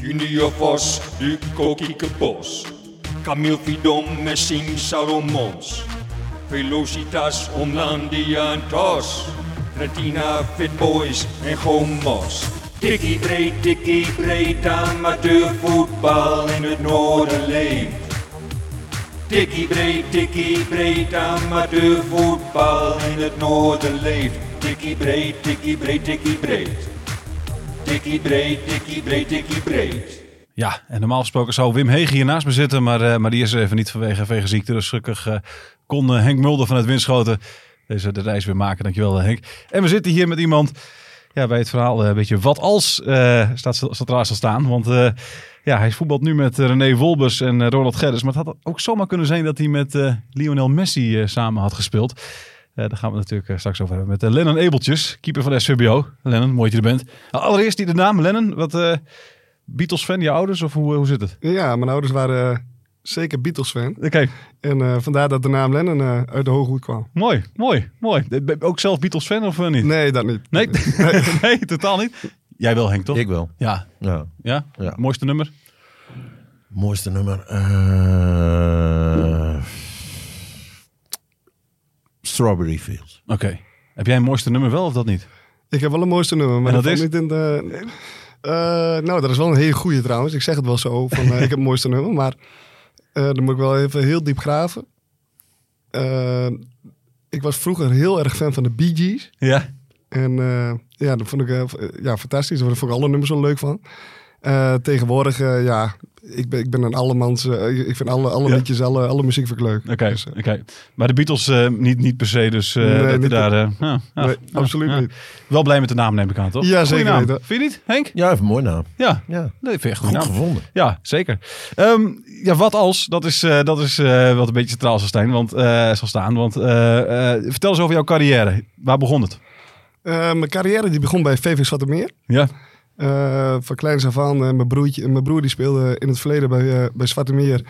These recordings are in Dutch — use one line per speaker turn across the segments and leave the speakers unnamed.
Junior Vos, Duco Kiekenbos, Camille Fidon, Messing Salomons, Velocitas, Omlandia en Tos, Retina, Fitboys en Gomos. Tikkie breed, tikkie breed, amateurvoetbal in het noorden leeft. Tikkie breed, tikkie breed, amateurvoetbal in het noorden leeft. Tikkie breed, tikkie breed, tikkie breed. Tikkie breed, tikkie breed, tikkie breed.
Ja, en normaal gesproken zou Wim Hege hier naast me zitten, maar, eh, maar die is er even niet vanwege vegenziekte. Dus gelukkig eh, kon eh, Henk Mulder vanuit Winschoten deze de reis weer maken. Dankjewel eh, Henk. En we zitten hier met iemand ja, bij het verhaal eh, een beetje wat als eh, staat centraal zal staan. Want eh, ja, hij voetbalt nu met eh, René Wolbers en eh, Ronald Gerrits. Maar het had ook zomaar kunnen zijn dat hij met eh, Lionel Messi eh, samen had gespeeld. Eh, daar gaan we natuurlijk eh, straks over hebben met eh, Lennon Ebeltjes, keeper van de SVBO. Lennon, mooi dat je er bent. Nou, Allereerst die de naam, Lennon. Wat... eh, Beatles fan, je ouders, of hoe, hoe zit het?
Ja, mijn ouders waren eh, zeker Beatles-fan.
Oké,
En eh, vandaar dat de naam Lennon eh, uit de hooghoed kwam.
mooi, mooi, mooi. Ben je Ook zelf Beatles fan of eh, niet?
Nee, dat niet.
Nee? Nee, totaal niet. Jij wel, Henk, toch?
Ik wel.
Ja,
Ja.
ja?
Ja.
Mooiste nummer?
Mooiste nummer. eh, Strawberry Fields.
Oké. Heb jij een mooiste nummer wel of dat niet?
Ik heb wel een mooiste nummer, maar
En dat
dat, valt
is?
niet in de... Eh, nou, dat is wel een hele goede trouwens. Ik zeg het wel zo, van eh, ik heb het mooiste nummer. Maar eh, dan moet ik wel even heel diep graven. Eh, ik was vroeger heel erg fan van de Bee Gees.
Ja.
En eh, ja, dat vond ik eh, ja, fantastisch. Daar vond ik alle nummers zo leuk van. Eh, tegenwoordig, eh, ja, ik ben, ik ben een allemans. eh, ik vind alle, alle
Ja.
liedjes, alle, alle muziek vind ik leuk.
Oké,
Dus, eh,
oké. Maar de Beatles eh, niet, niet per se, dus eh,
Nee,
dat je
niet
daar... eh, ja, ja,
nee,
ja,
absoluut
ja.
niet.
Wel blij met de naam, neem ik aan, toch?
Ja,
Goeie
zeker
naam.
weten.
Vind je niet, Henk?
Ja, even een mooi naam.
Ja.
Ja.
Nee, vind je een goede
Goed
naam.
gevonden.
Ja, zeker. Ehm, ja, wat als? Dat is, eh, dat is eh, wat een beetje centraal zal, staan, want, eh, zal staan. Want eh, eh, vertel eens over jouw carrière. Waar begon het?
Eh, mijn carrière die begon bij VV Zwartemeer.
Ja,
Eh van kleins af aan. eh, mijn, broertje, mijn broer die speelde in het verleden bij, eh, bij Zwarte Meer.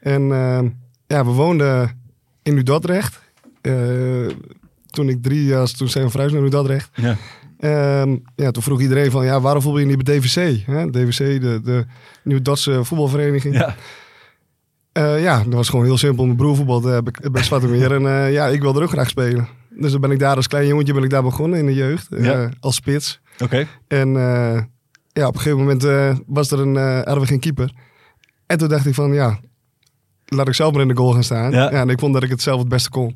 En eh, ja, we woonden in Udordrecht. Eh toen ik drie jaar was, toen zijn we verhuisd naar Udordrecht.
ja,
Ehm, ja, toen vroeg iedereen van, ja, waarom voetbal je niet bij DVC? Hè? DVC, de, de Nieuw-Dotse voetbalvereniging. Ja.
ja.
ja, dat was gewoon heel simpel. Mijn broer voetbalde eh, bij- bij Zwarte Meer. en eh, ja, ik wilde er ook graag spelen. Dus dan ben ik daar als klein jongetje ben ik daar begonnen in de jeugd. eh,
Ja.
als spits.
oké.
En eh, ja, op een gegeven moment eh, was er een, eh, hadden we geen keeper. En toen dacht ik van, ja, laat ik zelf maar in de goal gaan staan.
Ja.
Ja. en ik vond dat ik het zelf het beste kon.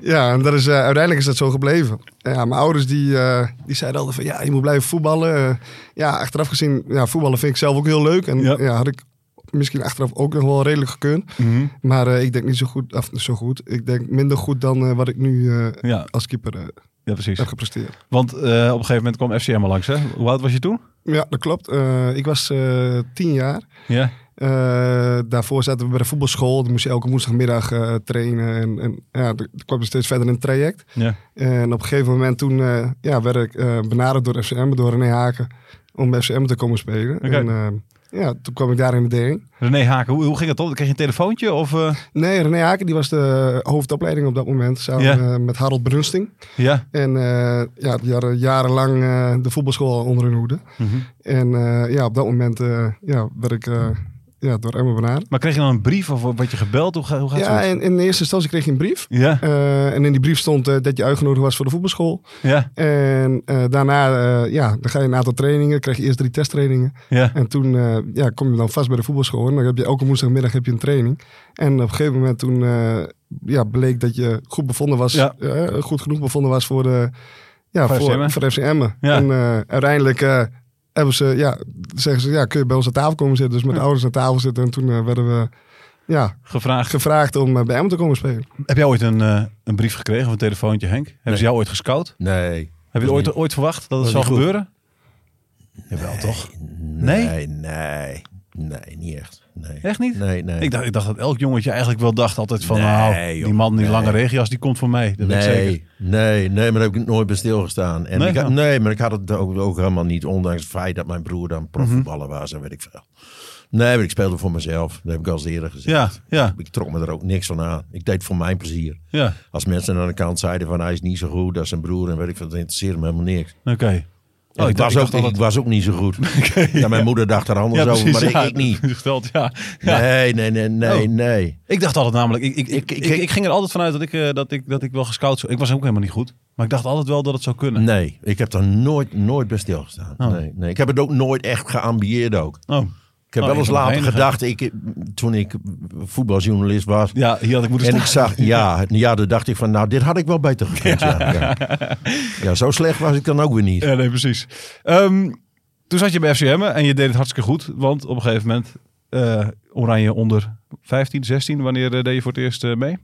ja, en dat is, eh, uiteindelijk is dat zo gebleven. Ja, mijn ouders die, eh, die zeiden altijd van, ja, je moet blijven voetballen. Eh, ja, achteraf gezien, ja, voetballen vind ik zelf ook heel leuk. En
Ja.
ja. had ik misschien achteraf ook nog wel redelijk gekund.
Mhm.
Maar eh, ik denk niet zo goed, of zo goed. Ik denk minder goed dan eh, wat ik nu eh,
ja,
als keeper eh,
ja, precies.
heb gepresteerd.
Want eh, op een gegeven moment kwam FCM al langs, hè? Hoe oud was je toen?
Ja, dat klopt. Eh, ik was eh, tien jaar.
Ja,
Eh, daarvoor zaten we bij de voetbalschool. Dan moest je elke woensdagmiddag eh, trainen. En, en ja, er er kwam steeds verder een traject.
ja.
En op een gegeven moment toen eh, ja, werd ik eh, benaderd door FCM, door René Haken, om bij FCM te komen spelen.
Oké.
En eh, ja, toen kwam ik daar in de D1.
René Haken, hoe, hoe ging dat op? Kreeg je een telefoontje? Of, eh,
Nee, René Haken die was de hoofdopleiding op dat moment, samen
Ja.
eh, met Harold Brunsting.
Ja.
En eh, ja, die hadden jarenlang eh, de voetbalschool onder hun hoede.
Mhm.
En eh, ja, op dat moment eh, ja, werd ik eh, ja, door Emma benaderd.
Maar kreeg je dan een brief of word je gebeld? Hoe, ga- hoe gaat
Ja,
het?
en in eerste instantie kreeg je een brief.
Ja,
Eh, en in die brief stond eh, dat je uitgenodigd was voor de voetbalschool.
ja,
En eh, daarna, eh, ja, dan ga je een aantal trainingen. Krijg je eerst drie testtrainingen.
ja.
En toen eh, ja, kom je dan vast bij de voetbalschool. En dan heb je elke woensdagmiddag heb je een training. En op een gegeven moment toen eh, ja, bleek dat je goed bevonden was.
Ja.
eh, goed genoeg bevonden was voor de... Ja,
Voor
voor,
FC Emmen.
voor, FC Emmen.
Ja.
En eh, uiteindelijk eh, hebben ze, ja, zeggen ze, ja, kun je bij ons aan tafel komen zitten. Dus met de ouders aan tafel zitten. En toen eh, werden we ja,
Gevraagd.
gevraagd om eh, bij Emmen te komen spelen.
Heb jij ooit een, eh, een brief gekregen of een telefoontje, Henk? Hebben
Nee.
ze jou ooit gescout?
Nee.
Heb je
Dat
ooit,
niet.
ooit verwacht dat het
is
zou
niet goed.
gebeuren? Jawel, toch? Nee?
Nee, nee. Nee, niet echt. Nee.
Echt niet?
Nee, nee.
Ik, dacht, ik dacht dat elk jongetje eigenlijk wel dacht altijd van...
Nee,
nou,
joh,
die man in die
nee.
lange regenjas, die komt voor mij. Dat weet ik zeker.
Nee, nee, nee, maar daar heb ik nooit bij stilgestaan.
Nee,
En nee, ik had,
ja.
nee, maar ik had het ook, ook helemaal niet, ondanks het feit dat mijn broer dan profvoetballer was en weet ik veel. Nee, maar ik speelde voor mezelf. Dat heb ik al eens eerder
Ja,
gezegd.
ja,
Ik trok me er ook niks van aan. Ik deed het voor mijn plezier.
ja.
Als mensen aan de kant zeiden van hij is niet zo goed als zijn broer en weet ik veel, dat interesseerde me helemaal niks.
Oké.
En ik,
Oh, dacht-
was ook,
dacht al
ik
dat-
was ook niet zo goed. ja, mijn moeder dacht er anders
Ja,
over,
precies,
maar
ja.
ik, ik niet.
Gesteld, ja. Ja.
Nee, nee, nee, nee,
Oh.
nee.
Ik dacht altijd namelijk, ik, ik, ik,
Ik-
ik,
ik-
ik ging er altijd vanuit dat ik, eh, dat ik, dat ik wel gescout zou. Ik was ook helemaal niet goed. Maar ik dacht altijd wel dat het zou kunnen.
Nee, ik heb daar nooit, nooit bij stilgestaan.
Oh.
Nee, nee. Ik heb het ook nooit echt geambieerd ook.
Oh.
Ik heb
Oh,
wel eens
ik ben de
later
enige.
gedacht, ik, toen ik voetbaljournalist was,
Ja, hier had ik moeten
En ik
staan.
zag, ja, ja, dan dacht ik van, nou, dit had ik wel beter gekund. Ja. Ja. Ja, zo slecht was ik dan ook weer niet.
Ja, nee, precies. Ehm, toen zat je bij FCM en je deed het hartstikke goed. Want op een gegeven moment, eh, Oranje onder 15, 16. Wanneer eh, deed je voor het eerst eh, mee?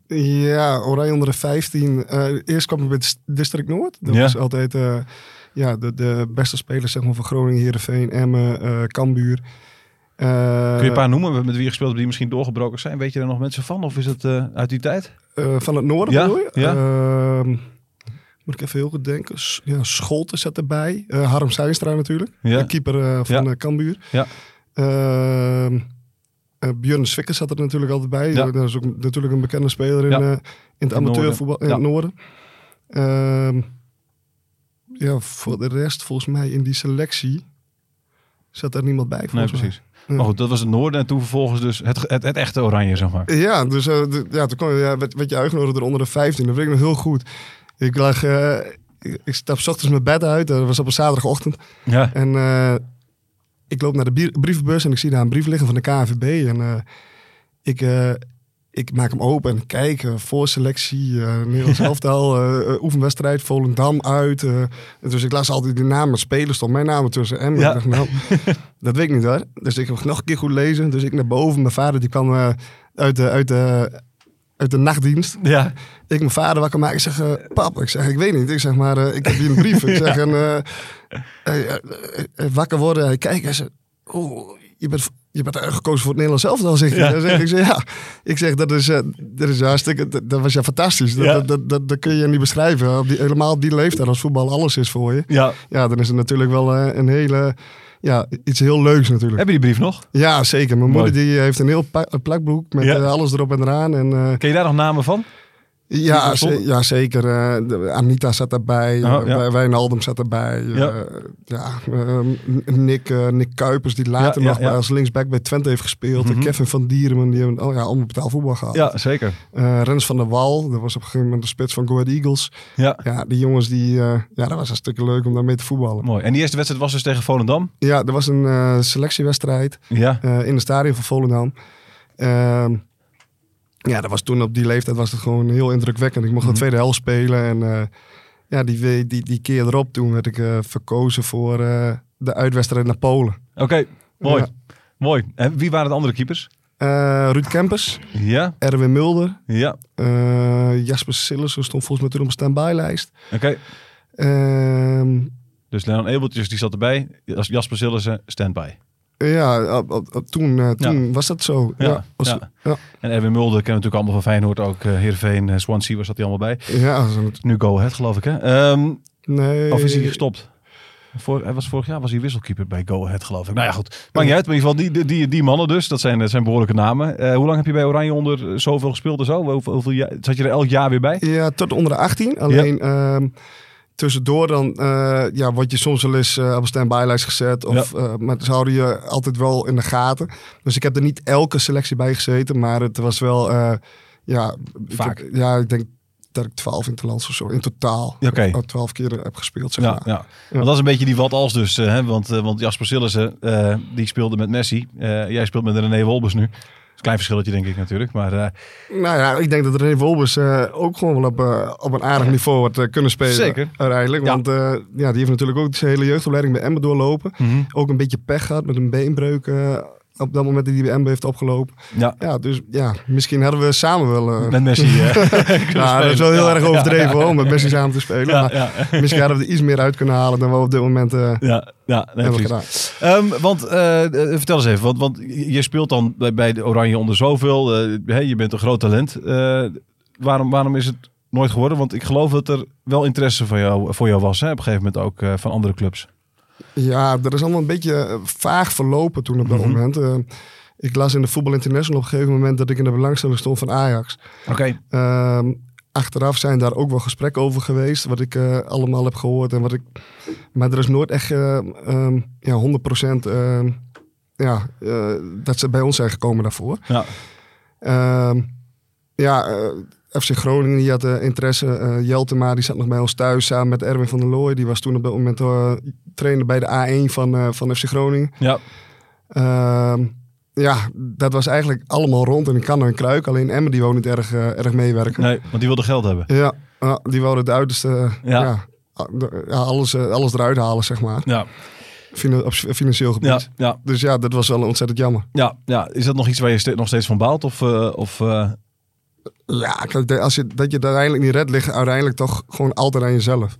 Ja, Oranje onder de 15. Eh, eerst kwam ik bij Dis- District Noord. Dat
Ja.
was altijd eh, ja, de, de beste spelers zeg maar, van Groningen, Heerenveen, Emmen, eh Kambuur. Eh,
Kun je een paar noemen met wie je gespeeld hebt die misschien doorgebroken zijn? Weet je er nog mensen van? Of is dat eh, uit die tijd?
eh, van het noorden
Ja,
bedoel je?
ja.
Ehm, moet ik even heel goed denken. S- Ja, Scholten zat erbij. Eh, Harm Zijnstra natuurlijk.
Ja.
De keeper eh, van
Ja.
eh, Kambuur.
Ja.
Ehm, eh, Björn Swikker zat er natuurlijk altijd bij.
Ja.
Eh, Dat is ook natuurlijk een bekende speler in,
Ja.
eh, in het amateurvoetbal in
Ja.
het noorden. Ehm, ja, voor de rest volgens mij in die selectie zat er niemand bij.
Nee,
volgens mij.
precies.
Ja.
Maar goed, dat was het noorden. En toen vervolgens dus het, het, het echte Oranje, zeg maar.
Ja, dus eh, d- ja, toen kwam, ja, werd, werd je uitgenodigd eronder de 15. Dat weet ik nog heel goed. Ik lag... eh, ik, ik stap 's ochtends mijn bed uit. Dat was op een zaterdagochtend.
Ja.
En eh, ik loop naar de bier- brievenbus en ik zie daar een brief liggen van de KNVB. En eh, ik, eh, ik maak hem open en ik kijk. eh, voorselectie, eh Nederlands elftal, eh, eh, oefenwedstrijd, Volendam uit. eh. dus ik las altijd die namen, spelers stond mijn naam tussen. En
Ja.
ik dacht, nou, dat weet ik niet hoor. Dus ik heb nog een keer goed lezen. Dus ik naar boven. Mijn vader die kwam eh, uit, de, uit, de, uit de nachtdienst
Ja.
ik mijn vader wakker maak. Ik zeg, eh, pap, ik zeg, ik weet niet. Ik zeg maar, eh, ik heb hier een brief. Ik zeg, en, eh, hij- hij- hij wakker worden. Hij kijkt en zegt, oh, je bent, je bent gekozen voor het Nederlands elftal, zeg ik.
Ja.
Dan zeg ik, ik zeg, ja. Ik zeg, dat is, eh, dat is hartstikke, dat, dat was ja fantastisch. Dat,
Ja.
dat, dat, dat, dat kun je niet beschrijven. Op die, helemaal op die leeftijd, als voetbal alles is voor je.
ja.
Ja, dan is het natuurlijk wel eh, een hele, ja, iets heel leuks natuurlijk.
Heb je die brief nog?
Ja, zeker. Mijn
Mooi.
moeder die heeft een heel pa- plakboek met
Ja.
eh, alles erop en eraan. En, eh,
Ken je daar nog namen van?
ja,
Die van
ze-
Zon-
ja, zeker. eh, de- Anita zat daarbij.
Oh, ja.
Wij- Wijnaldum zat daarbij. eh,
Ja.
ja. ehm, Nick, eh, Nick Kuipers, die later
Ja, ja,
nog bij-
ja.
als linksback bij Twente heeft gespeeld. en
Mhm.
Kevin van Dierenman, die hebben oh, ja, allemaal betaalvoetbal gehad.
Ja, zeker.
Eh, Rens van der Wal, dat was op een gegeven moment de spits van Go Ahead Eagles.
Ja.
Ja, die jongens, die, eh, ja, dat was een stuk leuk om daarmee te voetballen.
Mooi. En die eerste wedstrijd was dus tegen Volendam?
Ja, er was een eh, selectiewedstrijd
Ja.
eh, in het stadion van Volendam. Ehm, ja, dat was toen op die leeftijd was het gewoon heel indrukwekkend. Ik mocht
Mhm.
de tweede helft spelen en eh, ja, die, we- die, die keer erop toen werd ik eh, verkozen voor eh, de uitwedstrijd naar Polen.
Oké, mooi.
Ja.
Mooi. En wie waren de andere keepers?
Eh, Ruud Kempers,
Ja,
Erwin Mulder,
ja.
eh, Jasper Sillissen stond volgens mij toen op een stand-by-lijst.
Oké.
Ehm,
Dus Lennon Ebeltjes, die zat erbij. Jas- Jasper Sillissen, standby.
ja, op- op- op- toen, eh, toen was dat zo.
Ja,
Ja, was,
ja.
ja. ja,
En Erwin Mulder kennen we natuurlijk allemaal van Feyenoord. Ook eh Heerenveen, eh, Swansea, was dat die allemaal bij.
zo-
Nu Go Ahead, geloof ik, hè? Ehm,
nee.
Of is hij gestopt? Voor, hij was vorig jaar was hij wisselkeeper bij Go Ahead, geloof ik. Nou ja, goed. Maakt niet uit. Maar in ieder geval, die, die, die mannen dus. Dat zijn, dat zijn behoorlijke namen. Eh, hoe lang heb je bij Oranje onder eh, zoveel gespeeld en zo? Hoeveel, hoeveel jaar, zat je er elk jaar weer bij?
Ja, tot onder de 18. Alleen ehm, tussendoor dan eh, ja, word je soms wel eens eh, op een stand-by-lijst gezet. Of, eh, maar ze houden je altijd wel in de gaten. Dus ik heb er niet elke selectie bij gezeten. Maar het was wel... eh, ja, ik
Vaak.
heb- ja, ik denk dat ik 12 interlands of zo in totaal.
Ja, oké.
Al 12 keer eh, heb gespeeld, zeg
Ja,
maar.
ja. Want dat is een beetje die wat als dus. eh, hè? Want, eh, want Jasper Sillissen, eh, die speelde met Messi. Eh, jij speelt met René Wolbers nu. Dat is een klein verschilletje denk ik natuurlijk. Maar eh,
Nou ja, ik denk dat René Wolbers eh, ook gewoon wel op, eh, op een aardig niveau had eh, kunnen spelen.
Zeker.
Uiteindelijk.
Ja.
Want eh, ja, die heeft natuurlijk ook zijn hele jeugdopleiding bij Emmen doorlopen.
mhm.
ook een beetje pech gehad met een beenbreuk. eh, op dat moment dat hij bij MB heeft opgelopen.
ja,
Ja, dus ja, misschien hadden we samen wel... eh,
met Messi. eh, kunnen
nou, dat is wel
spelen.
heel
Ja,
erg overdreven hoor, om met Messi samen te spelen.
Ja,
maar
ja,
misschien hadden we er iets meer uit kunnen halen dan we op dit moment eh,
ja, ja, nee,
hebben
precies.
gedaan.
Ehm, want eh, eh, vertel eens even, want, want je speelt dan bij, bij de Oranje onder zoveel. eh, hè, je bent een groot talent. Eh, waarom, waarom is het nooit geworden? Want ik geloof dat er wel interesse van jou, voor jou was. Hè, op een gegeven moment ook eh, van andere clubs.
Ja, dat is allemaal een beetje eh, vaag verlopen toen op dat
Mhm.
moment. Eh, ik las in de Voetbal International op een gegeven moment dat ik in de belangstelling stond van Ajax.
Oké.
Ehm, achteraf zijn daar ook wel gesprekken over geweest, wat ik eh, allemaal heb gehoord. En wat ik, maar er is nooit echt eh, ehm, ja, 100% ehm, ja, eh, dat ze bij ons zijn gekomen daarvoor.
Ja.
Ehm, ja, eh, FC Groningen die had eh, interesse. Eh, Jeltema die zat nog bij ons thuis samen met Erwin van der Looy. Die was toen op dat moment eh, trainer bij de A1 van, eh, van FC Groningen.
Ja.
Ehm, ja, dat was eigenlijk allemaal rond en ik kan er een kruik. Alleen Emmen die wou niet erg, eh, erg meewerken.
Nee, want die wilde geld hebben.
Ja, ja, die wou het uiterste, eh,
Ja.
ja. a- de- ja, alles, eh, alles eruit halen, zeg maar.
Ja,
Finan- op s- financieel gebied.
ja, ja,
Dus ja, dat was wel ontzettend jammer.
ja, ja. Is dat nog iets waar je ste- nog steeds van baalt? Of, eh, of eh,
Ja, kijk, de- als je, dat je het uiteindelijk niet redt, ligt uiteindelijk toch gewoon altijd aan jezelf.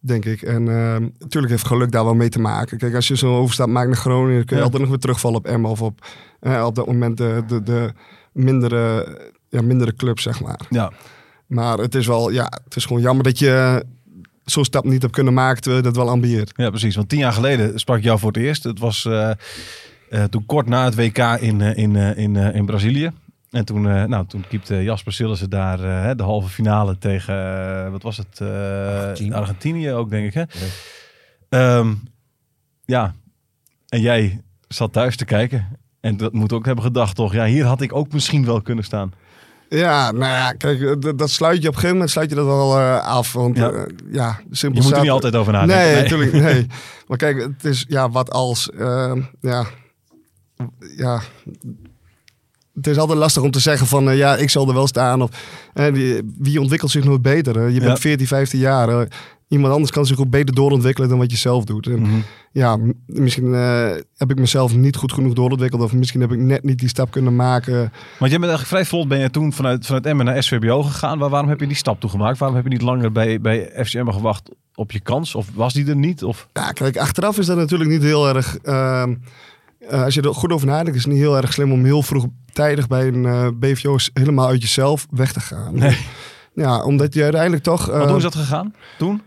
Denk ik. En ehm, natuurlijk heeft geluk daar wel mee te maken. Kijk, als je zo'n overstap maakt naar Groningen, dan kun je
Ja.
altijd nog weer terugvallen op Emmen of op, eh, op dat moment de, de, de mindere, ja, mindere club, zeg maar.
ja,
Maar het is wel, ja, het is gewoon jammer dat je zo'n stap niet hebt kunnen maken terwijl je dat wel ambieert.
ja, precies. Want tien jaar geleden sprak ik jou voor het eerst. Het was eh, eh, toen kort na het WK in, eh, in, eh, in, eh, in Brazilië. En toen, eh nou, toen keepte Jasper Sillissen daar eh, hè, de halve finale tegen, eh, wat was het? eh,
Argentinië.
Argentinië ook, denk ik. Hè? Ehm, ja, en jij zat thuis te kijken. En dat moet ook hebben gedacht, toch? Ja, hier had ik ook misschien wel kunnen staan.
Ja, nou ja, kijk, dat, dat sluit je op een gegeven moment sluit je dat wel eh, af. Want
Ja.
ja, ja simpel
Je moet er
staat-
niet altijd over nadenken.
Nee, natuurlijk nee. Maar kijk, het is ja, wat als. ehm, ja, ja. Het is altijd lastig om te zeggen van eh, ja, ik zal er wel staan. Of eh, die- wie ontwikkelt zich nooit beter? hè? Je
Ja.
bent 14, 15 jaar. eh, iemand anders kan zich ook beter doorontwikkelen dan wat je zelf doet. En,
Mhm.
ja, m- misschien eh, heb ik mezelf niet goed genoeg doorontwikkeld. Of misschien heb ik net niet die stap kunnen maken.
Want jij bent eigenlijk vrij vlot ben je toen vanuit, vanuit Emmen naar SVBO gegaan. Waar, waarom heb je die stap toegemaakt? Waarom heb je niet langer bij, bij FC Emmen gewacht op je kans? Of was die er niet? Of,
Ja, kijk, achteraf is dat natuurlijk niet heel erg. ehm, eh, als je er goed over nadenkt, is het niet heel erg slim om heel vroegtijdig bij een eh, BVO s- helemaal uit jezelf weg te gaan.
Nee.
Ja, omdat je uiteindelijk toch. eh,
want hoe is
Ehm.
dat gegaan toen?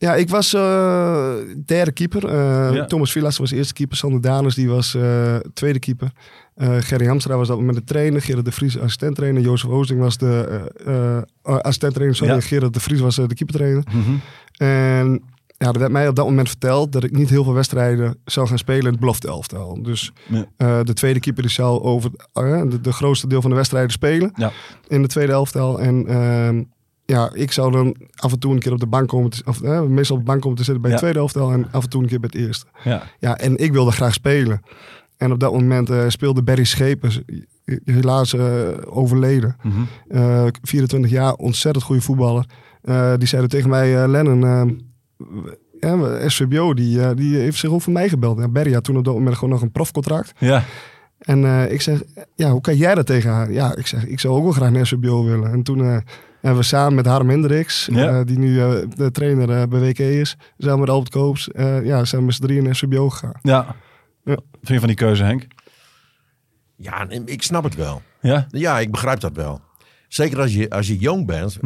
Ja, ik was eh, derde keeper. Eh,
Ja.
Thomas Villas was eerste keeper. Sander Danus die was eh, tweede keeper. Eh Gerry Hamstra was dat met de trainer. Gerard de Vries assistent trainer. Jozef Oosting was de eh assistent trainer. Sorry,
Ja.
Gerard de Vries was eh, de keeper trainer.
Mhm.
En ja, er werd mij op dat moment verteld dat ik niet heel veel wedstrijden zou gaan spelen in het belofte elftal. Dus
Ja.
eh, de tweede keeper die zou over eh, de, de grootste deel van de wedstrijden spelen
Ja.
in de tweede elftal. En ehm, ja, ik zou dan af en toe een keer op de bank komen, te, of, eh, meestal op de bank komen te zitten bij het
Ja.
tweede elftal en af en toe een keer bij het eerste.
Ja.
Ja, en ik wilde graag spelen. En op dat moment eh, speelde Barry Schepers, helaas eh, overleden.
Mhm.
Eh, 24 jaar, ontzettend goede voetballer. Eh, die zeiden tegen mij, eh, Lennon, eh, eh, SVBO, die, eh, die heeft zich ook voor mij gebeld. Nou, Barry had toen op dat moment gewoon nog een profcontract.
ja.
En eh, ik zeg, ja, hoe kan jij dat tegen haar? Ja, ik zeg, ik zou ook wel graag naar SVBO willen. En toen eh, hebben we samen met Harm Hendricks,
Ja.
eh, die nu eh, de trainer eh, bij WK is, samen met Albert Koops, eh, ja, zijn we met z'n drieën naar SVBO gegaan.
ja. Wat Vind je van die keuze, Henk?
Ja, nee, ik snap het wel.
Ja?
Ja, ik begrijp dat wel. Zeker als je, als je jong bent.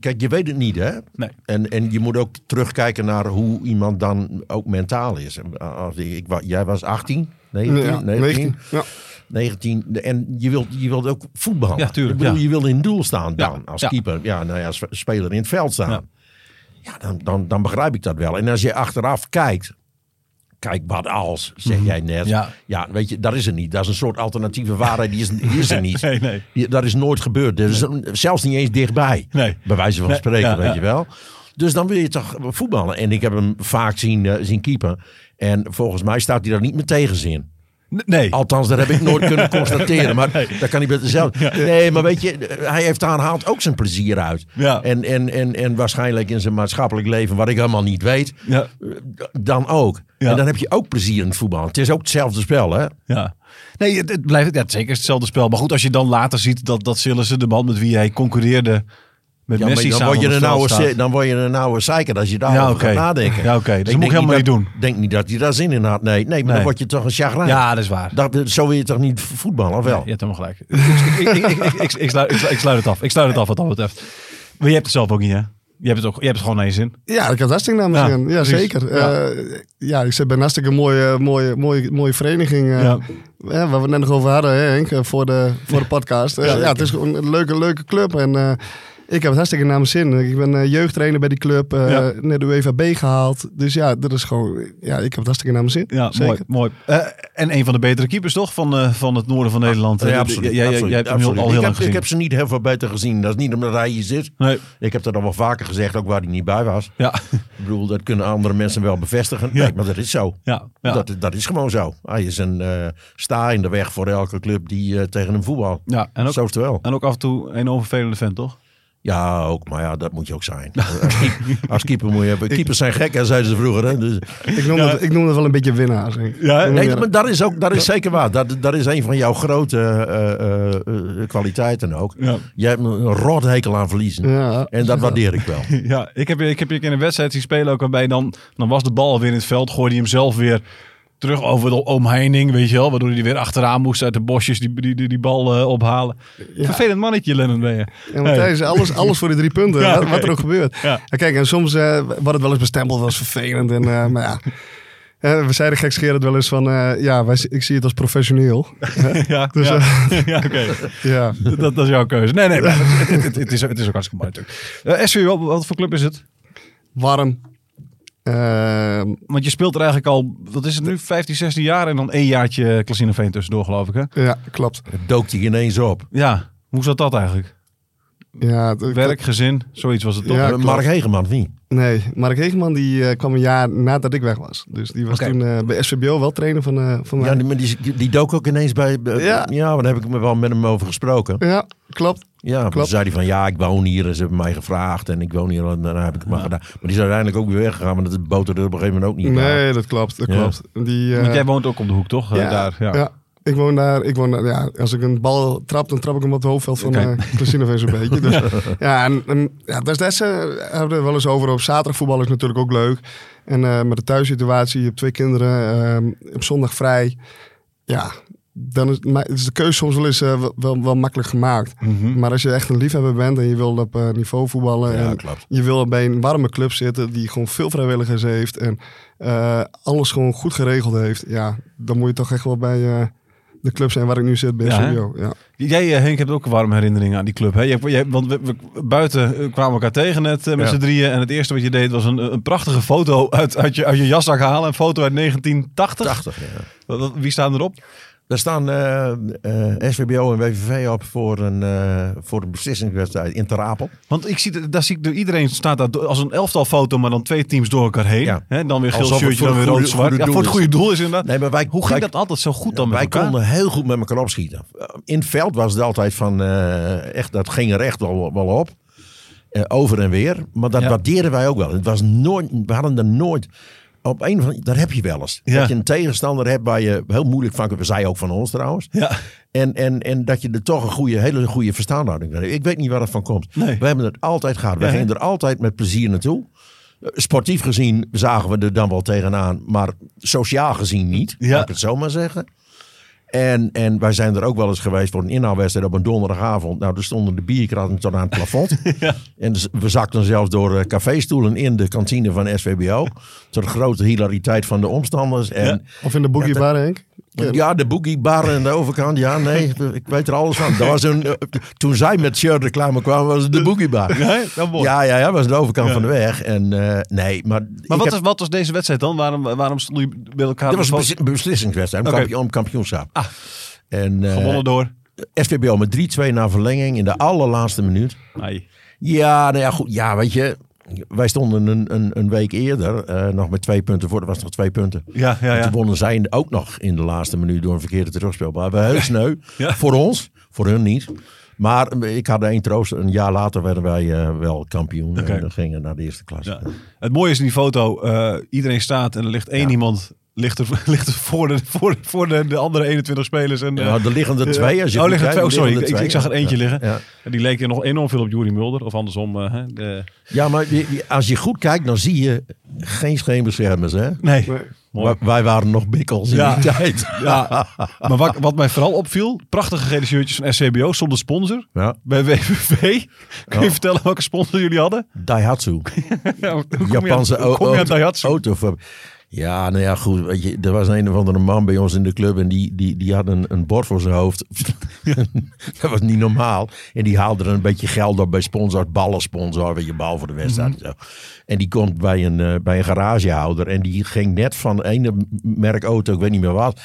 Kijk, je weet het niet, hè?
Nee.
En, en je moet ook terugkijken naar hoe iemand dan ook mentaal is. Als ik, ik wa- jij was 18, 19,
Ja,
19,
19, ja.
19. En je wilt, je wilt ook voetballen.
Ja, tuurlijk,
Ik bedoel,
ja.
je wilt in het doel staan
Ja,
dan. Als
ja.
keeper. Ja, nou ja, als speler in het veld staan.
Ja.
Ja, dan, dan, dan begrijp ik dat wel. En als je achteraf kijkt... Kijk, wat als, zeg jij net.
Mhm. Ja.
weet je, dat is er niet. Dat is een soort alternatieve waarheid. Die is, die is er niet.
Nee, nee.
Ja, dat is nooit gebeurd. Dus zelfs niet eens dichtbij.
Nee.
Bij wijze van
Nee,
spreken,
ja,
weet
ja.
je wel. Dus dan wil je toch voetballen. En ik heb hem vaak zien, eh, zien keeper. En volgens mij staat hij daar niet met tegenzin.
N- Nee.
Althans, dat heb ik nooit kunnen constateren. Maar dat kan hij beter zelf. Nee, maar weet je, hij heeft daar haalt ook zijn plezier uit.
Ja.
En, en, en, en waarschijnlijk in zijn maatschappelijk leven, wat ik helemaal niet weet,
Ja.
dan ook.
Ja.
En dan heb je ook plezier in het voetbal. Het is ook hetzelfde spel, hè?
Ja. Nee, het, het blijft ja, het is zeker hetzelfde spel. Maar goed, als je dan later ziet dat, dat Sillissen, de man met wie hij concurreerde, met
Ja,
Messi
maar dan
samen
word, je nou
op
een
het veld
oude,
staat.
ze- dan word je een oude zeiker als je daar
Ja,
over
oké.
gaat nadenken.
Ja, oké. Dus
Ik
dat moet
denk
je helemaal
niet
niet
dat-
doen.
denk niet dat hij daar zin in had. Nee, nee maar
Nee.
dan word je toch een chagrijn.
Ja, dat is waar.
Dat, zo wil je toch niet voetballen, of wel?
Je hebt helemaal gelijk. ik, ik, ik, ik, ik, ik sluit, ik, sluit, ik sluit het af. Ik sluit het af wat dat betreft. Maar je hebt het zelf ook niet, hè? Je hebt het, ook, je hebt het gewoon naar je zin.
Ja, ik had hartstikke naar mijn
Ja,
zin. Ja,
precies.
zeker.
Ja.
Ja. ja, ik zit bij een hartstikke mooie, mooie, mooie, mooie vereniging. eh,
Ja.
hè, waar we het net nog over hadden, hè, Henk, eh, voor de, voor de podcast. Eh, ja, het is gewoon een leuke, leuke club. En eh, Ik heb het hartstikke naar mijn zin. Ik ben eh, jeugdtrainer bij die club. eh,
Ja.
Net de UEFA B gehaald. Dus ja, dat is gewoon... Ja, ik heb het hartstikke naar mijn zin.
Ja,
Zeker.
mooi. mooi. Eh, en een van de betere keepers toch van, eh, van het noorden van Nederland.
Ja,
Eh,
absoluut.
Jij, jij,
absoluut,
jij hebt hem
absoluut.
heel, al heel
ik,
lang
heb, ik
gezien.
heb ze niet heel veel buiten gezien. Dat is niet omdat hij hier zit.
Nee,
Ik heb dat al wel vaker gezegd, ook waar hij niet bij was.
ja,
Ik bedoel, dat kunnen andere mensen wel bevestigen.
Ja.
Nee, maar dat is zo.
ja, ja.
Dat, dat is gewoon zo. Hij is een eh, sta in de weg voor elke club die eh, tegen hem voetbal.
ja. En, ook,
Zo is het wel.
en ook af en toe een onvervelende vent, toch?
Ja, ook. Maar ja, dat moet je ook zijn. Als keeper, als keeper moet je hebben. Keepers zijn gek, hè, zeiden ze vroeger. Hè? Dus,
Ik noem,
Ja.
het, ik noem het wel een beetje winnaars. hè.
Ja,
Ik noem
nee,
het-
maar dat is, ook, dat is zeker waar. Dat, dat is een van jouw grote eh, eh, eh, kwaliteiten ook.
Ja.
Jij hebt een rothekel aan verliezen.
Ja.
En dat waardeer ik wel.
Ja, ik heb, ik heb je in een wedstrijd zien spelen ook waarbij dan, dan was de bal weer in het veld, gooide hij hem zelf weer terug over de omheining, weet je wel, waardoor hij er weer achteraan moest uit de bosjes die die, die, die bal eh, ophalen. Vervelend mannetje, Lennon ben je.
Ja, want
Hey.
hij is alles, alles voor die drie punten,
Ja,
wat,
oké.
wat er ook gebeurt.
Ja.
En kijk, en soms eh wat het wel eens bestempeld was vervelend. En, eh, maar ja, Eh, we zeiden gekscherend wel eens van, eh, ja, wij, ik zie het als professioneel.
ja,
Dus,
ja, ja oké.
ja.
Dat, dat is jouw keuze. Nee, nee, maar het, het, het- het is, het is ook hartstikke mooi natuurlijk. Eh, SV, wat, wat voor club is het?
Warm. Ehm,
Want je speelt er eigenlijk al, wat is het nu, 15, 16 jaar en dan één jaartje Klasineveen tussendoor, geloof ik, hè?
ja, klopt.
Dookt hij ineens op.
Ja, hoe zat dat eigenlijk?
Ja, het-
Werk, gezin, zoiets was het toch?
Ja,
Eh,
klopt.
Mark Hegeman, of niet?
Nee, Mark Hegeman die, eh, kwam een jaar nadat ik weg was. Dus die was
Oké.
toen eh, bij SVBO wel trainer van, eh van mij.
Ja, die, maar die, die- die dook ook ineens bij... bij-
Ja.
ja, maar daar heb ik me wel met hem over gesproken.
ja klopt.
Ja, toen
Klopt.
zei hij van ja, ik woon hier en ze hebben mij gevraagd en ik woon hier en daarna heb ik het maar gedaan. Maar die is uiteindelijk ook weer weggegaan, want dat boterde er op een gegeven moment ook niet. aan.
Nee, dat klopt. Dat
Ja.
klopt. Die, eh,
Want jij woont ook om de hoek, toch? Eh, daar, ja.
Ik woon daar, ik woon daar, ja, als ik een bal trap, dan trap ik hem op het hoofdveld van
Oké.
eh Christinovee zo'n beetje. Dus, ja. en, en, ja, destijds eh, hebben we er wel eens over. Op zaterdag voetbal is natuurlijk ook leuk. En eh, met de thuissituatie, je hebt twee kinderen, eh, op zondag vrij. Ja, dan is, maar is de keuze soms wel eens eh, wel, wel, wel makkelijk gemaakt.
Mhm.
Maar als je echt een liefhebber bent en je wil op eh, niveau voetballen...
Ja,
en
klopt.
je wil bij een warme club zitten die gewoon veel vrijwilligers heeft... en eh, alles gewoon goed geregeld heeft... ja, dan moet je toch echt wel bij eh, de club zijn waar ik nu zit, bij
Ja, hè?
Studio. Ja.
Jij, eh, Henk, hebt ook warme herinneringen aan die club. Hè? Jij, jij- want we, we- buiten eh, kwamen we elkaar tegen net eh, met
Ja.
z'n drieën. En het eerste wat je deed was een, eh, een prachtige foto uit, uit, je, uit je jaszak halen. Een foto uit 1980.
80, ja.
Wat- wat- Wie staan erop?
Daar staan eh, eh, SWBO en WVV op voor een, eh, voor een beslissingswedstrijd in Ter Apel.
Want ik zie, dat- daar zie ik door iedereen staat daar do- als een elftal foto, maar dan twee teams door elkaar heen.
Ja.
Hè? Dan weer geel
Alsof het
shirtje,
voor
dan weer
het goede-
rood zwart. Ja,
goede doel
voor het
is.
goede doel is inderdaad.
Nee, maar wij,
Hoe ging
wij,
dat altijd zo goed dan met
wij
elkaar?
konden heel goed met elkaar opschieten. In het veld was het altijd van, eh, echt, dat ging er echt wel, wel op. Eh, over en weer. Maar dat
Ja.
waarderen wij ook wel. Het was nooit, we hadden er nooit... Op een van, dat heb je wel eens.
Ja.
Dat je een tegenstander hebt waar je heel moeilijk van kunt. Zij ook van ons trouwens.
Ja.
En, en, en dat je er toch een goede, hele goede verstaanhouding hebt. Ik weet niet waar dat van komt.
Nee.
We hebben het altijd gehad. We
Ja, hè?
gingen er altijd met plezier naartoe. Eh, Sportief gezien zagen we er dan wel tegenaan. Maar sociaal gezien niet.
Ja.
Laat ik het zo maar zeggen. En, en wij zijn er ook wel eens geweest voor een inhaalwedstrijd op een donderdagavond. Nou, er stonden de bierkratten tot aan het plafond. En dus we zakten zelfs door eh, caféstoelen in de kantine van SVBO. Tot grote hilariteit van de omstanders. En
Ja.
Of in de Boogie Bar, Henk. Ken-
ja, de boogie bar aan de overkant. Ja, nee, ik weet er alles van. Dat was een, eh, toen zij met shirt reclame kwamen, was het de boogie bar.
Ja, hè? Dat mooi.
Ja, ja, ja, was de overkant van de weg. En eh, nee, maar.
Maar
ik
wat,
heb-
is, wat was deze wedstrijd dan? Waarom, waarom stonden jullie bij elkaar?
Dat was
op
een
de
bes- beslissingswedstrijd om,
Oké.
kampioen, om kampioenschap.
Ah.
En
foto?
eh,
gewonnen door?
SVBO met 3-2 na verlenging in de allerlaatste minuut.
Nee.
Ja, nou ja, goed. Ja, weet je. Wij stonden een, een, een week eerder eh, nog met twee punten voor. Er was nog twee punten.
Ja, ja,
En
ja.
Toen wonnen zij ook nog in de laatste minuut door een verkeerde terugspel. Maar we heel sneu.
Ja.
Voor ons, voor hun niet. Maar eh, ik had één troost. Een jaar later werden wij eh, wel kampioen.
Oké.
En dan gingen we naar de eerste klasse.
Ja. Het mooie is in die foto, eh, iedereen staat en er ligt één
Ja.
iemand ligt er, ligt er voor, de, voor, voor de, de andere 21 spelers. En, eh,
Nou, er liggen er twee. Als je
oh,
goed
liggen er
kijkt,
twee. Oh, sorry,
liggen
ik, ik- ik zag er eentje liggen.
Ja.
En die leek er nog enorm veel op Jury Mulder. Of andersom. eh, hè, de...
Ja, maar je- je- als je goed kijkt, dan zie je geen scheenbeschermers. Hè?
Nee.
Nee.
Mooi.
Wij- Wij waren nog bikkels in
Ja.
die tijd.
Ja, maar wat, wat mij vooral opviel, prachtige gele shirtjes van SCBO zonder sponsor.
Ja.
Bij WVV, kun je
Ja.
vertellen welke sponsor jullie hadden?
Daihatsu.
Ja, hoe kom je aan-
Japanse
hoe kom je aan
auto-
Daihatsu?
autofab- Ja, nou ja, goed. Weet je, er was een of andere man bij ons in de club en die, die, die had een, een bord voor zijn hoofd. dat was niet normaal. En die haalde er een beetje geld op bij sponsors, ballensponsor, weet je, bal voor de wedstrijd.
Mhm.
en zo. En die komt bij een, eh, bij een garagehouder en die ging net van ene merk auto, ik weet niet meer wat,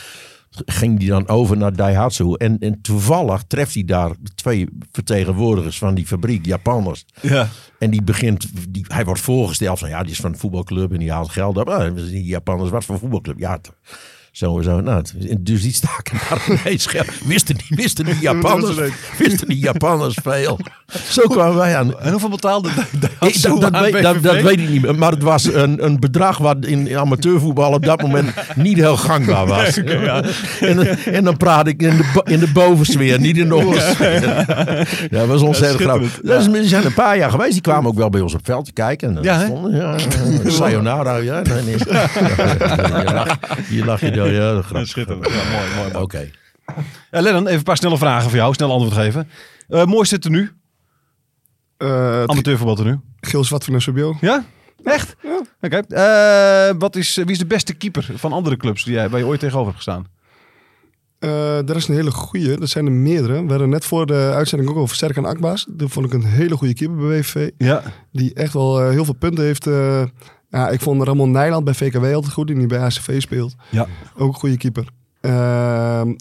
ging die dan over naar Daihatsu. En, en toevallig treft hij daar twee vertegenwoordigers van die fabriek, Japanners.
Ja.
En die begint, die, hij wordt voorgesteld van ja, die is van een voetbalclub en die haalt geld op. Ah, die Japanners, wat voor voetbalclub? Ja, t- zo en zo. Nou, het- en dus die staken daar ineens geld. Wisten die, wisten die
Dat was
Japanners, wisten die Japanners veel. Zo kwamen wij aan.
En hoeveel betaalde
Ik, dat, dat, weet, dat, dat weet ik niet meer. Maar het was een, een bedrag wat in amateurvoetbal op dat moment niet heel gangbaar was. en, en dan praat ik in de, bo- in de bovensfeer, niet in de ondersfeer. Ja, dat was ontzettend
Ja,
grappig.
schitterend.
Dat is, er zijn een paar jaar geweest. Die kwamen ook wel bij ons op het veld te kijken. En dan
Ja, hè?
stonden- ja, ja, ja. sayonara. Ja, nee, nee. Hier lach, hier lach je door. Ja, grappig.
Schitterend. Ja, mooi, mooi.
Oké.
mooi. Ja, Eh, Lennon, even een paar snelle vragen voor jou. Snel antwoord geven. Eh mooiste tenue?
Eh, het
Amateurvoetbal tenue.
geel zwart van SBO.
Ja? Echt? Oké. Eh, wat is, wie is de beste keeper van andere clubs die jij, waar je ooit tegenover hebt gestaan?
Eh dat is een hele goeie. Dat zijn er meerdere. We hadden net voor de uitzending ook over Serkan Akbaas. Die vond ik een hele goede keeper bij WVV.
Ja.
Die echt wel eh, heel veel punten heeft. eh. ja, ik vond Ramon Nijland bij VKW altijd goed. Die nu bij ACV speelt.
Ja.
Ook een goede keeper. Ehm, eh,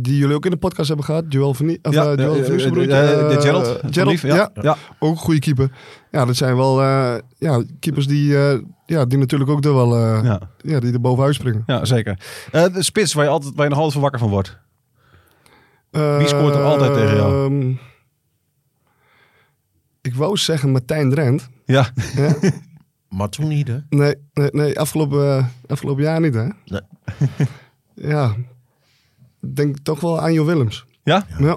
die jullie ook in de podcast hebben gehad. Joel van Nie- of,
Ja,
eh, Joel
eh,
van
eh,
Nieuwsbroek,
eh,
eh,
eh, Gerald.
Gerald,
Lief,
ja.
ja. ja.
Ook een goede keeper. Ja, dat zijn wel eh, ja, keepers die, eh, ja, die natuurlijk ook er wel eh, ja.
ja.
die er bovenuit springen.
Ja, zeker. Eh, de spits waar je, altijd, waar je nog altijd van wakker van wordt. Wie scoort er altijd tegen jou?
Ehm, ik wou zeggen Martijn Drent.
Ja.
Maar toen niet, hè?
Nee, nee, nee afgelopen, eh, afgelopen jaar niet hè?
Nee.
ja, Ik denk toch wel aan Jo Willems.
Ja?
Ja.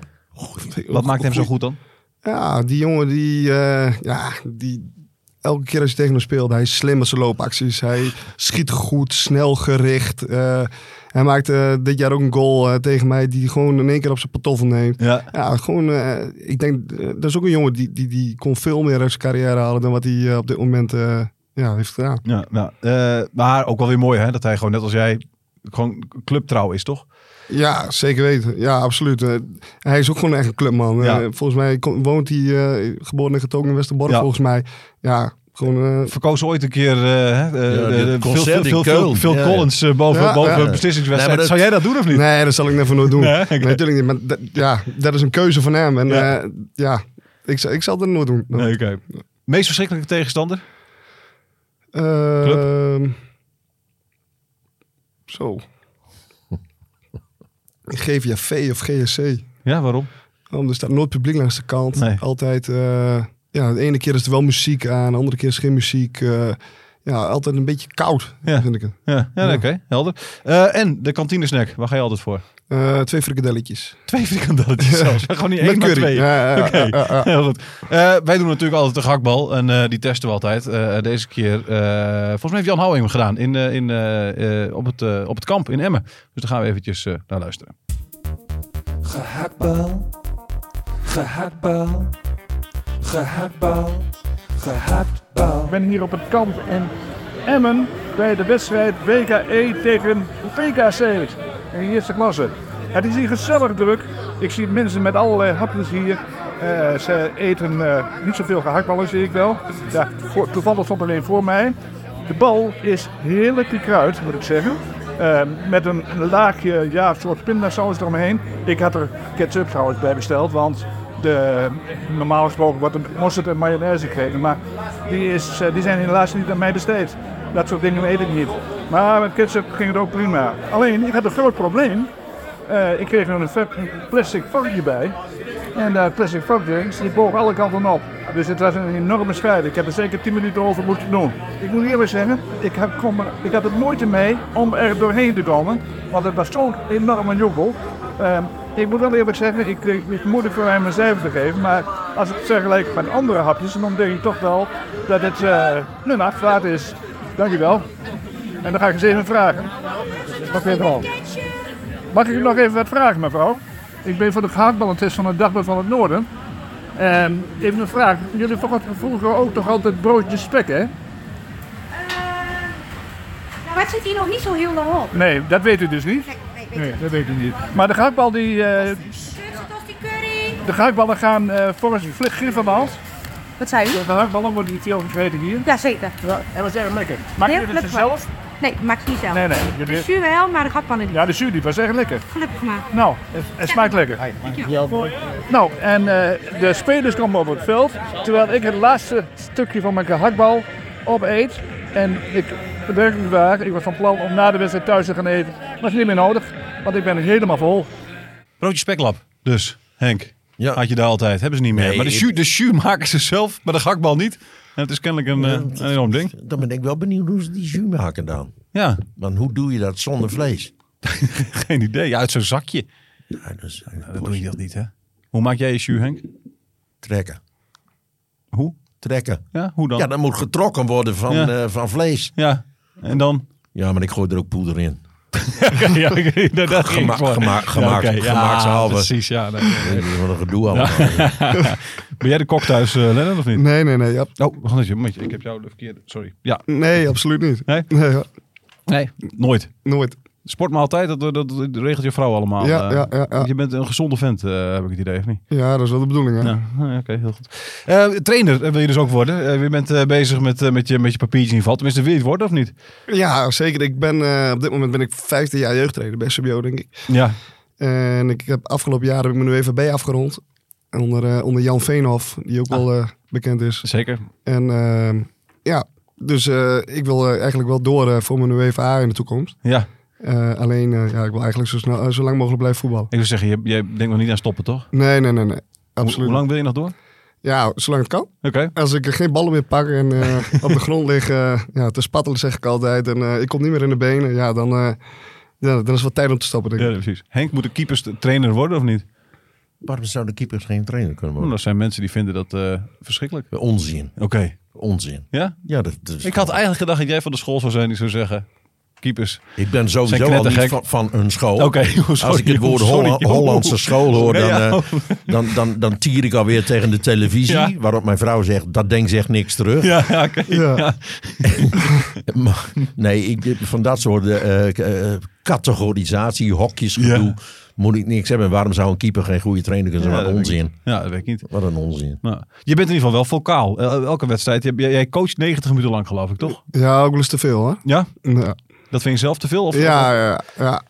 Wat maakt hem zo goed dan?
Ja, die jongen die, eh, ja, die elke keer als je tegen hem speelde, hij is slim met zijn loopacties. Hij schiet goed, snel gericht. Eh, hij maakte eh, dit jaar ook een goal eh, tegen mij die hij gewoon in één keer op zijn pantoffel neemt.
Ja.
Ja, gewoon, eh, ik denk, eh, dat is ook een jongen die, die, die kon veel meer uit zijn carrière halen dan wat hij eh, op dit moment eh, ja, heeft gedaan.
ja, ja. Eh, maar ook wel weer mooi hè, dat hij gewoon net als jij gewoon clubtrouw is, toch?
Ja, zeker weten. Ja, absoluut. Eh, hij is ook gewoon echt een clubman.
Ja.
Eh, volgens mij ko- woont hij, eh, geboren en getogen in Westerbork,
Ja.
volgens mij. Ja, gewoon... eh,
Verkoos ooit een keer eh, hè, eh, de-
Ja, dit
de- veel,
concert
veel,
in
veel, veel,
Keulen.
veel
Ja, ja.
Collins eh, boven,
Ja,
boven
ja.
een beslissingswedstrijd.
Nee, maar dat-
Zou jij dat doen of niet?
Nee, dat zal ik never nooit doen.
Nee,
Nee,
oké.
natuurlijk niet. Maar dat, ja, dat is een keuze van hem. En
Ja.
ja, ja ik, zal- ik zal dat nooit doen.
Nee, oké. Meest verschrikkelijke tegenstander?
Ehm,
Club?
zo. GVV of GSC.
Ja, waarom?
Om er staat nooit publiek langs de kant.
Nee.
Altijd, eh, ja, de ene keer is er wel muziek aan, de andere keer is geen muziek. eh, ja, altijd een beetje koud,
Ja.
vind ik het.
Ja, ja,
Ja.
oké, helder. Eh, en de kantinesnack, waar ga je altijd voor?
Eh, twee frikandelletjes.
Twee frikandelletjes zelfs. Gewoon niet één,
Met
maar
curry.
twee.
Ja, ja,
Oké,
ja, ja, ja.
heel goed. Eh, wij doen natuurlijk altijd de gakbal en eh, die testen we altijd. Eh, deze keer, eh, volgens mij heeft Jan Houwing hem gedaan in, eh, in, eh, eh, op, het, eh, op het kamp in Emmen. Dus daar gaan we eventjes eh, naar luisteren.
Gehaktbal, gehaktbal, gehaktbal, gehaktbal.
Ik ben hier op het kamp in Emmen bij de wedstrijd WKE tegen PKC. In de eerste klasse. Het is hier gezellig druk. Ik zie mensen met allerlei hapjes hier. Eh, ze eten eh, niet zoveel gehaktballen, zie ik wel. Ja, voor- toevallig stond alleen voor mij. De bal is heerlijk gekruid, moet ik zeggen. Eh, met een laagje, ja, soort pindasaus eromheen. Ik had er ketchup trouwens bij besteld, want de, normaal gesproken wordt er mosterd en mayonaise gegeven. Maar die, is, eh, die zijn helaas niet aan mij besteed. Dat soort dingen weet ik niet. Maar met ketchup ging het ook prima. Alleen, ik had een groot probleem. Eh, ik kreeg er een vet- een plastic vakje bij. En dat plastic vakje die boog alle kanten op. Dus het was een enorme strijd. Ik heb er zeker 10 minuten over moeten doen. Ik moet eerlijk zeggen, ik had, kom, er- ik had het moeite mee om er doorheen te komen. Want het was zo'n enorme joekel. Ehm, ik moet wel eerlijk zeggen, ik, ik, het is moeilijk voor mij om een cijfer te geven. Maar als ik het vergelijk met andere hapjes, dan denk ik toch wel dat het eh een achtwaard is. Dankjewel. En dan ga ik eens even vragen. Wat vind je ervan? Mag ik u nog even wat vragen, mevrouw? Ik ben van de gehaktballentest van het Dagblad van het Noorden. Ehm, even een vraag. Jullie verkochten vroeger ook toch altijd broodjes spek, hè?
Maar Nou, het zit hier nog niet zo heel lang op.
Nee, dat weet u dus niet.
Nee, nee, weet
Nee,
ik.
dat weet u niet. Maar de gehaktbal die, eh, De gehaktballen gaan eh volgens die vlieg gif aan de hand.
Wat zei u?
De gehaktballen worden niet heel vergeten hier.
Jazeker.
Ja, en wat erg lekker. Maak
Heel
je het
lekker.
zelf?
Nee, maak het niet zelf.
Nee, nee.
De
Jullie...
zuur wel, maar de gatpannen niet.
Ja, de zuurdiep was echt lekker.
Gelukkig maar.
Nou, het, het smaakt lekker. Nou, en eh, de spelers komen op het veld, terwijl ik het laatste stukje van mijn gehaktbal opeet. En ik werkelijk waar, ik was van plan om na de wedstrijd thuis te gaan eten. Maar is niet meer nodig, want ik ben helemaal vol.
Broodje speklap. Dus, Henk.
Ja.
Had je daar altijd. Hebben ze niet meer.
Nee,
maar de
ik-
jus, de jus maken ze zelf, maar de gakbal niet. En het is kennelijk een, eh, een enorm ding.
Dan ben ik wel benieuwd hoe ze die jus maken dan.
Ja,
Want hoe doe je dat zonder vlees?
geen idee. Ja, uit zo'n zakje.
Ja, dat is
Dat doe je dat niet, hè? Hoe maak jij je jus, Henk?
trekken.
Hoe?
Trekken.
Ja, hoe dan?
Ja,
Ja.
dat moet getrokken worden van,
Ja.
eh, van vlees.
En dan?
Ja, maar ik gooi er ook poeder in.
ja, oké, daar- daar ging ik
Gema-
voor.
gema- gemaakt-
oké,
gemaakshalve.
Precies, ja. nee.
Dat is wel een gedoe allemaal.
Ben jij de kok thuis, eh Lennart, of niet?
Nee, nee, nee. ab-
Oh, wacht even, momentje. Ik heb jou de verkeerde... Sorry. Ja,
nee, absoluut niet.
Nee?
hoor,
nee. Nooit.
nooit.
Sportmaaltijd, dat, dat, dat regelt je vrouw allemaal.
Ja,
eh.
ja, ja, ja.
Je bent een gezonde vent, eh, heb ik het idee, of niet?
Ja, dat is wel de bedoeling, hè?
Ja, ah, oké, heel goed. Eh, trainer eh, wil je dus ook worden. Eh, je bent eh, bezig met, eh, met, je, met je papiertje in val. Tenminste, wil je het worden of niet?
Ja, zeker. Ik ben, eh, op dit moment ben ik 15 jaar jeugdtrainer bij SBO, denk ik.
Ja.
En ik heb afgelopen jaar heb ik mijn UWVB afgerond. En Onder, eh, onder Jan Veenhof, die
Ah.
ook wel eh, bekend is.
Zeker.
En ehm, ja, dus eh, ik wil eh, eigenlijk wel door eh, voor mijn UEFA in de toekomst.
Ja,
Eh, alleen, eh, ja, ik wil eigenlijk zo, snel, eh, zo lang mogelijk blijven voetballen.
ik wil zeggen, je, je denkt nog niet aan stoppen, toch?
Nee, nee, nee, nee. Absoluut.
Hoe, hoe lang wil je nog door? Oké.
Ja, zolang het kan. Als ik eh, geen ballen meer pak en eh, op de grond lig eh, ja, te spattelen, zeg ik altijd. En eh, ik kom niet meer in de benen. Ja, dan, eh, ja, dan is het wel tijd om te stoppen, denk ik.
Ja, precies. Henk, moet de keepers de trainer worden of niet?
Waarom zou de keepers geen trainer kunnen
Nou,
worden?
dat zijn mensen die vinden dat eh, verschrikkelijk.
Onzin.
Oké.
Onzin.
Ja?
Ja, dat, dat is-
Ik had eigenlijk gedacht dat jij van de school zou zijn die zou zeggen... Keepers.
ik
Zijn
ben sowieso al niet
knettergek.
van, van een school.
Oh. Oké, joh,
Als
sorry,
ik het woord
joh, sorry,
Holla-
joh.
Hollandse school hoor, dan,
Nee, ja.
eh, dan, dan, dan tier ik alweer tegen de televisie.
Ja.
Waarop mijn vrouw zegt, dat denkt echt niks terug.
Ja, ja, oké.
Ja.
Ja.
Maar- nee, ik, van dat soort eh, k- eh, categorisatie, hokjes, gedoe,
Ja.
moet ik niks hebben. Waarom zou een keeper geen goede trainer kunnen zijn?
Ja,
Wat
dat weet
onzin.
ik- Ja, dat weet ik niet.
Wat een onzin.
Nou, je bent in ieder geval wel vocaal. El- Elke wedstrijd. Jij, jij coacht 90 minuten lang, geloof ik, toch?
Ja, ook wel eens te veel, hoor.
Ja?
Ja.
Dat vind je zelf te veel? Of,
Ja, ja, ja.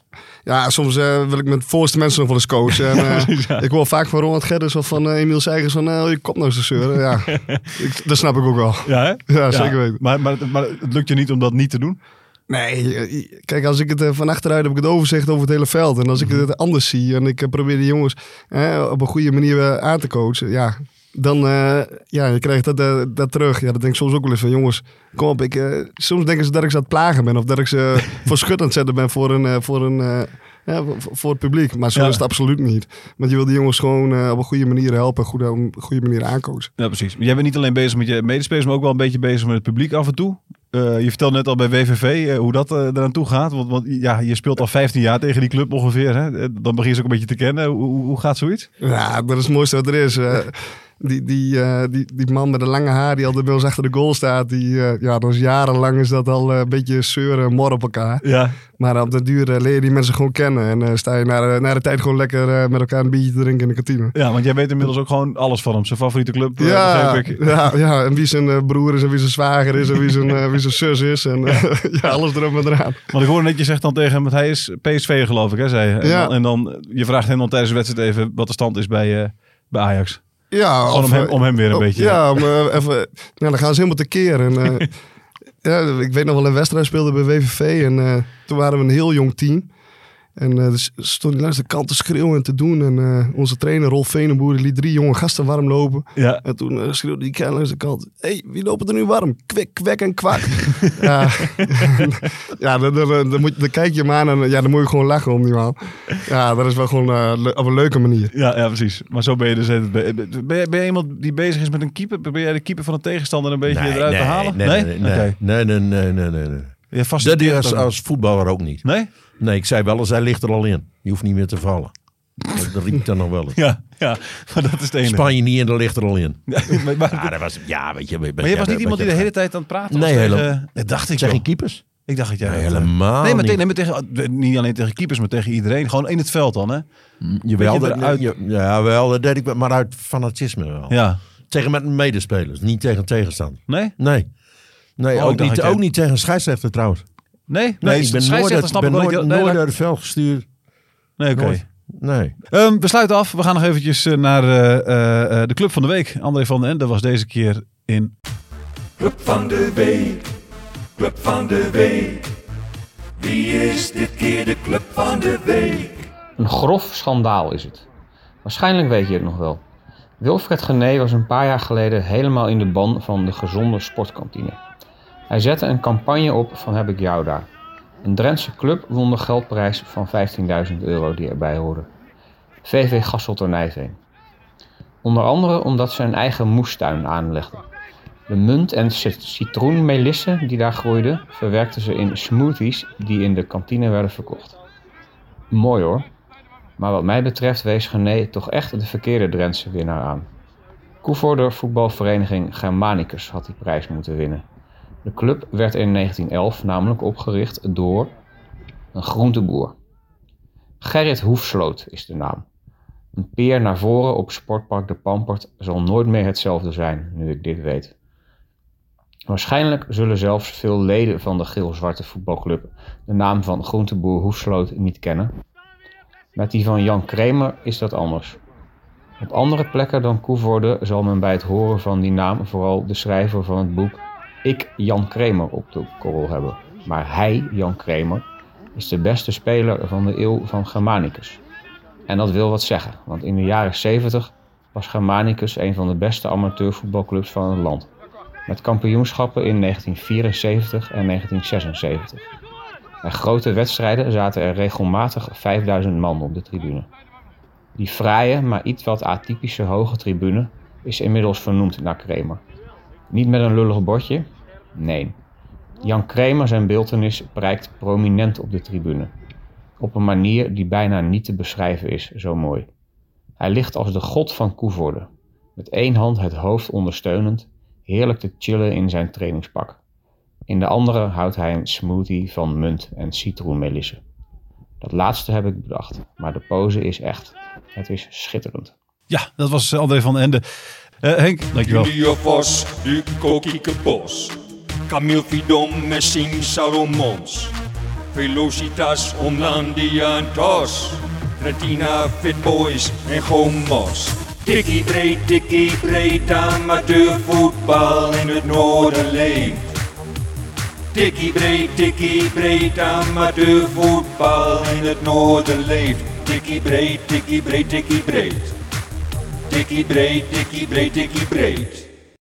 Ja, soms eh, wil ik met de voorste mensen nog wel eens coachen. En, eh, Ik hoor vaak van Ronald Gerdes of van eh, Emiel Seigers van, eh, je kop nou eens te zeuren. Ja, ik, dat snap ik ook wel.
Ja, hè?
Ja, zeker weten.
Maar, maar, maar het lukt je niet om dat niet te doen?
Nee, eh, kijk, als ik het eh, van achteruit heb ik het overzicht over het hele veld. En als ik het anders zie en ik eh, probeer de jongens eh, op een goede manier eh, aan te coachen, ja, dan eh, ja, je krijgt dat, eh, dat terug. Ja, dat denk ik soms ook wel eens van jongens, kom op. Ik, eh, soms denken ze dat ik ze aan het plagen ben of dat ik ze voor schut aan het zetten ben voor een... eh, voor een eh, ja, voor- voor het publiek. Maar zo
Ja.
is het absoluut niet. Want je wil de jongens gewoon eh, op een goede manier helpen. Goed, op een goede manier aancoachen.
Ja, precies. Jij bent niet alleen bezig met je medespelers, maar ook wel een beetje bezig met het publiek af en toe. Eh, je vertelde net al bij WVV eh, hoe dat eh, eraan toe gaat. Want, want ja, je speelt al 15 jaar tegen die club ongeveer. Hè? Eh, Dan begin je ze ook een beetje te kennen. Hoe, hoe- hoe gaat zoiets?
Ja, dat is het mooiste wat er is. Eh, die, die, eh, die, die man met de lange haar die altijd bij ons achter de goal staat. Die, eh, ja, dat is jarenlang is dat al eh, een beetje zeuren en morren op elkaar.
Ja.
Maar op de duur eh, leer je die mensen gewoon kennen. En eh, sta je na, de- na de tijd gewoon lekker eh, met elkaar een biertje te drinken in de kantine.
ja, want jij weet inmiddels ook gewoon alles van hem. Zijn favoriete club. eh,
Ja,
begreep ik.
ja, ja, en wie zijn eh, broer is en wie zijn zwager is en wie zijn, eh, wie zijn zus is. En eh, ja, alles erop en eraan.
Want ik hoorde net, je zegt dan tegen hem, want hij is PSV geloof ik, hè, zei je. En,
Ja.
dan, en dan, je vraagt hem dan tijdens de wedstrijd even wat de stand is bij, eh, bij Ajax.
Ja,
Gewoon
of,
om hem,
eh,
om hem weer een
Oh,
beetje...
Ja, om, eh, even, nou, dan gaan ze helemaal tekeer. En, eh, ja, ik weet nog wel, een wedstrijd speelde bij WVV. En eh, toen waren we een heel jong team. En eh dus stond die langs de kant te schreeuwen en te doen. En eh, onze trainer Rolf Venenboer die liet drie jonge gasten warm lopen.
Ja.
En toen eh, schreeuwde die kerel langs de kant. Hé, hey, wie lopen er nu warm? Kwik, kwek en kwak. ja, ja dan, dan, dan, moet, je- dan kijk je hem aan en eh, ja, dan moet je gewoon lachen om die man. Ja, dat is wel gewoon eh, le- op een leuke manier.
Ja, ja, precies. Maar zo ben je dus... altijd bij- Ben je, ben je iemand die bezig is met een keeper? Probeer jij de keeper van de tegenstander een beetje eruit te halen?
Nee, nee, nee.
Oké.
Nee, nee, nee, nee, nee, nee.
Ja, vast
Dat deed als, als voetballer ook niet.
Nee?
Nee, ik zei wel eens, hij ligt er al in. Je hoeft niet meer te vallen. Dat dat riep dan nog wel eens.
Ja, ja, maar dat is het enige.
Spanje niet en er ligt er al in.
Ja, maar, maar,
Ja, dat was, ja weet je...
maar je was niet iemand die de hele tijd aan het praten was?
Nee,
tegen-
helemaal-
Dat dacht ik
Zeg
wel.
geen keepers?
Ik dacht dat jij...
Nee,
dat, eh,
helemaal
nee, maar tegen,
niet.
nee, maar tegen, niet alleen tegen keepers, maar tegen iedereen. Gewoon in het veld dan, hè?
Jawel,
Weet je,
dat,
eruit-
ja, jawel, dat deed ik wel, maar uit fanatisme wel.
Ja.
Tegen met medespelers, niet tegen tegenstander.
Nee?
Nee. Nee,
Oh, ik
ook,
dacht
niet,
dat jij-
ook niet tegen scheidsrechter trouwens.
Nee? Nee,
Nee, ik ben nooit,
scheidsrechter
uit,
snap
ben
ik wel
nooit,
dat je-
nooit
nee,
uit het veld gestuurd.
Nee, oké.
Nooit. Nee.
Ehm, we sluiten af. We gaan nog eventjes eh, naar eh, eh, eh, de club van de week. André van den Ende was deze keer in...
Club van de week, club van de week. Wie is dit keer de club van de week?
Een grof schandaal is het. Waarschijnlijk weet je het nog wel. Wilfred Gené was een paar jaar geleden helemaal in de ban van de gezonde sportkantine. Hij zette een campagne op van heb ik jou daar. Een Drentse club won de geldprijs van 15.000 euro die erbij hoorde. VV Gasselt door Nijveen. Onder andere omdat ze een eigen moestuin aanlegden. De munt- en cit- citroenmelissen die daar groeiden verwerkten ze in smoothies die in de kantine werden verkocht. Mooi hoor. Maar wat mij betreft wees Gené toch echt de verkeerde Drentse winnaar aan. Koevoorder voetbalvereniging Germanicus had die prijs moeten winnen. De club werd in 1911 namelijk opgericht door een groenteboer. Gerrit Hoefsloot is de naam. Een peer naar voren op Sportpark de Pampert zal nooit meer hetzelfde zijn, nu ik dit weet. Waarschijnlijk zullen zelfs veel leden van de geel-zwarte voetbalclub de naam van groenteboer Hoefsloot niet kennen, met die van Jan Kramer is dat anders. Op andere plekken dan Koevoorde zal men bij het horen van die naam vooral de schrijver van het boek Ik Jan Kramer op de korrel hebben. Maar hij, Jan Kramer, is de beste speler van de eeuw van Germanicus. En dat wil wat zeggen, want in de jaren 70 was Germanicus een van de beste amateurvoetbalclubs van het land. Met kampioenschappen in 1974 en 1976. Bij grote wedstrijden zaten er regelmatig 5000 man op de tribune. Die fraaie, maar iets wat atypische hoge tribune is inmiddels vernoemd naar Kramer. Niet met een lullig bordje? Nee. Jan Kramer zijn beeltenis prijkt prominent op de tribune. Op een manier die bijna niet te beschrijven is, zo mooi. Hij ligt als de god van Koevoorde, met één hand het hoofd ondersteunend, heerlijk te chillen in zijn trainingspak. In de andere houdt hij een smoothie van munt en citroenmelissen. Dat laatste heb ik bedacht, maar de pose is echt. Het is schitterend.
Ja, dat was eh, André van den Ende. Eh, Henk, dankjewel.
Junior Vos, Duco Kiekebos. Camille Fidom, Messing Salomons. Velocitas, Omlandia en Tos. Retina, Fitboys en Gomos. Tikkie breed, tikkie breed, amateurvoetbal in het noorden leeft. Tikkie breed, tikkie breed, amateurvoetbal in het noorden leeft. Tikkie breed, tikkie breed, tikkie breed. Dickie breed, dickie breed, dickie breed.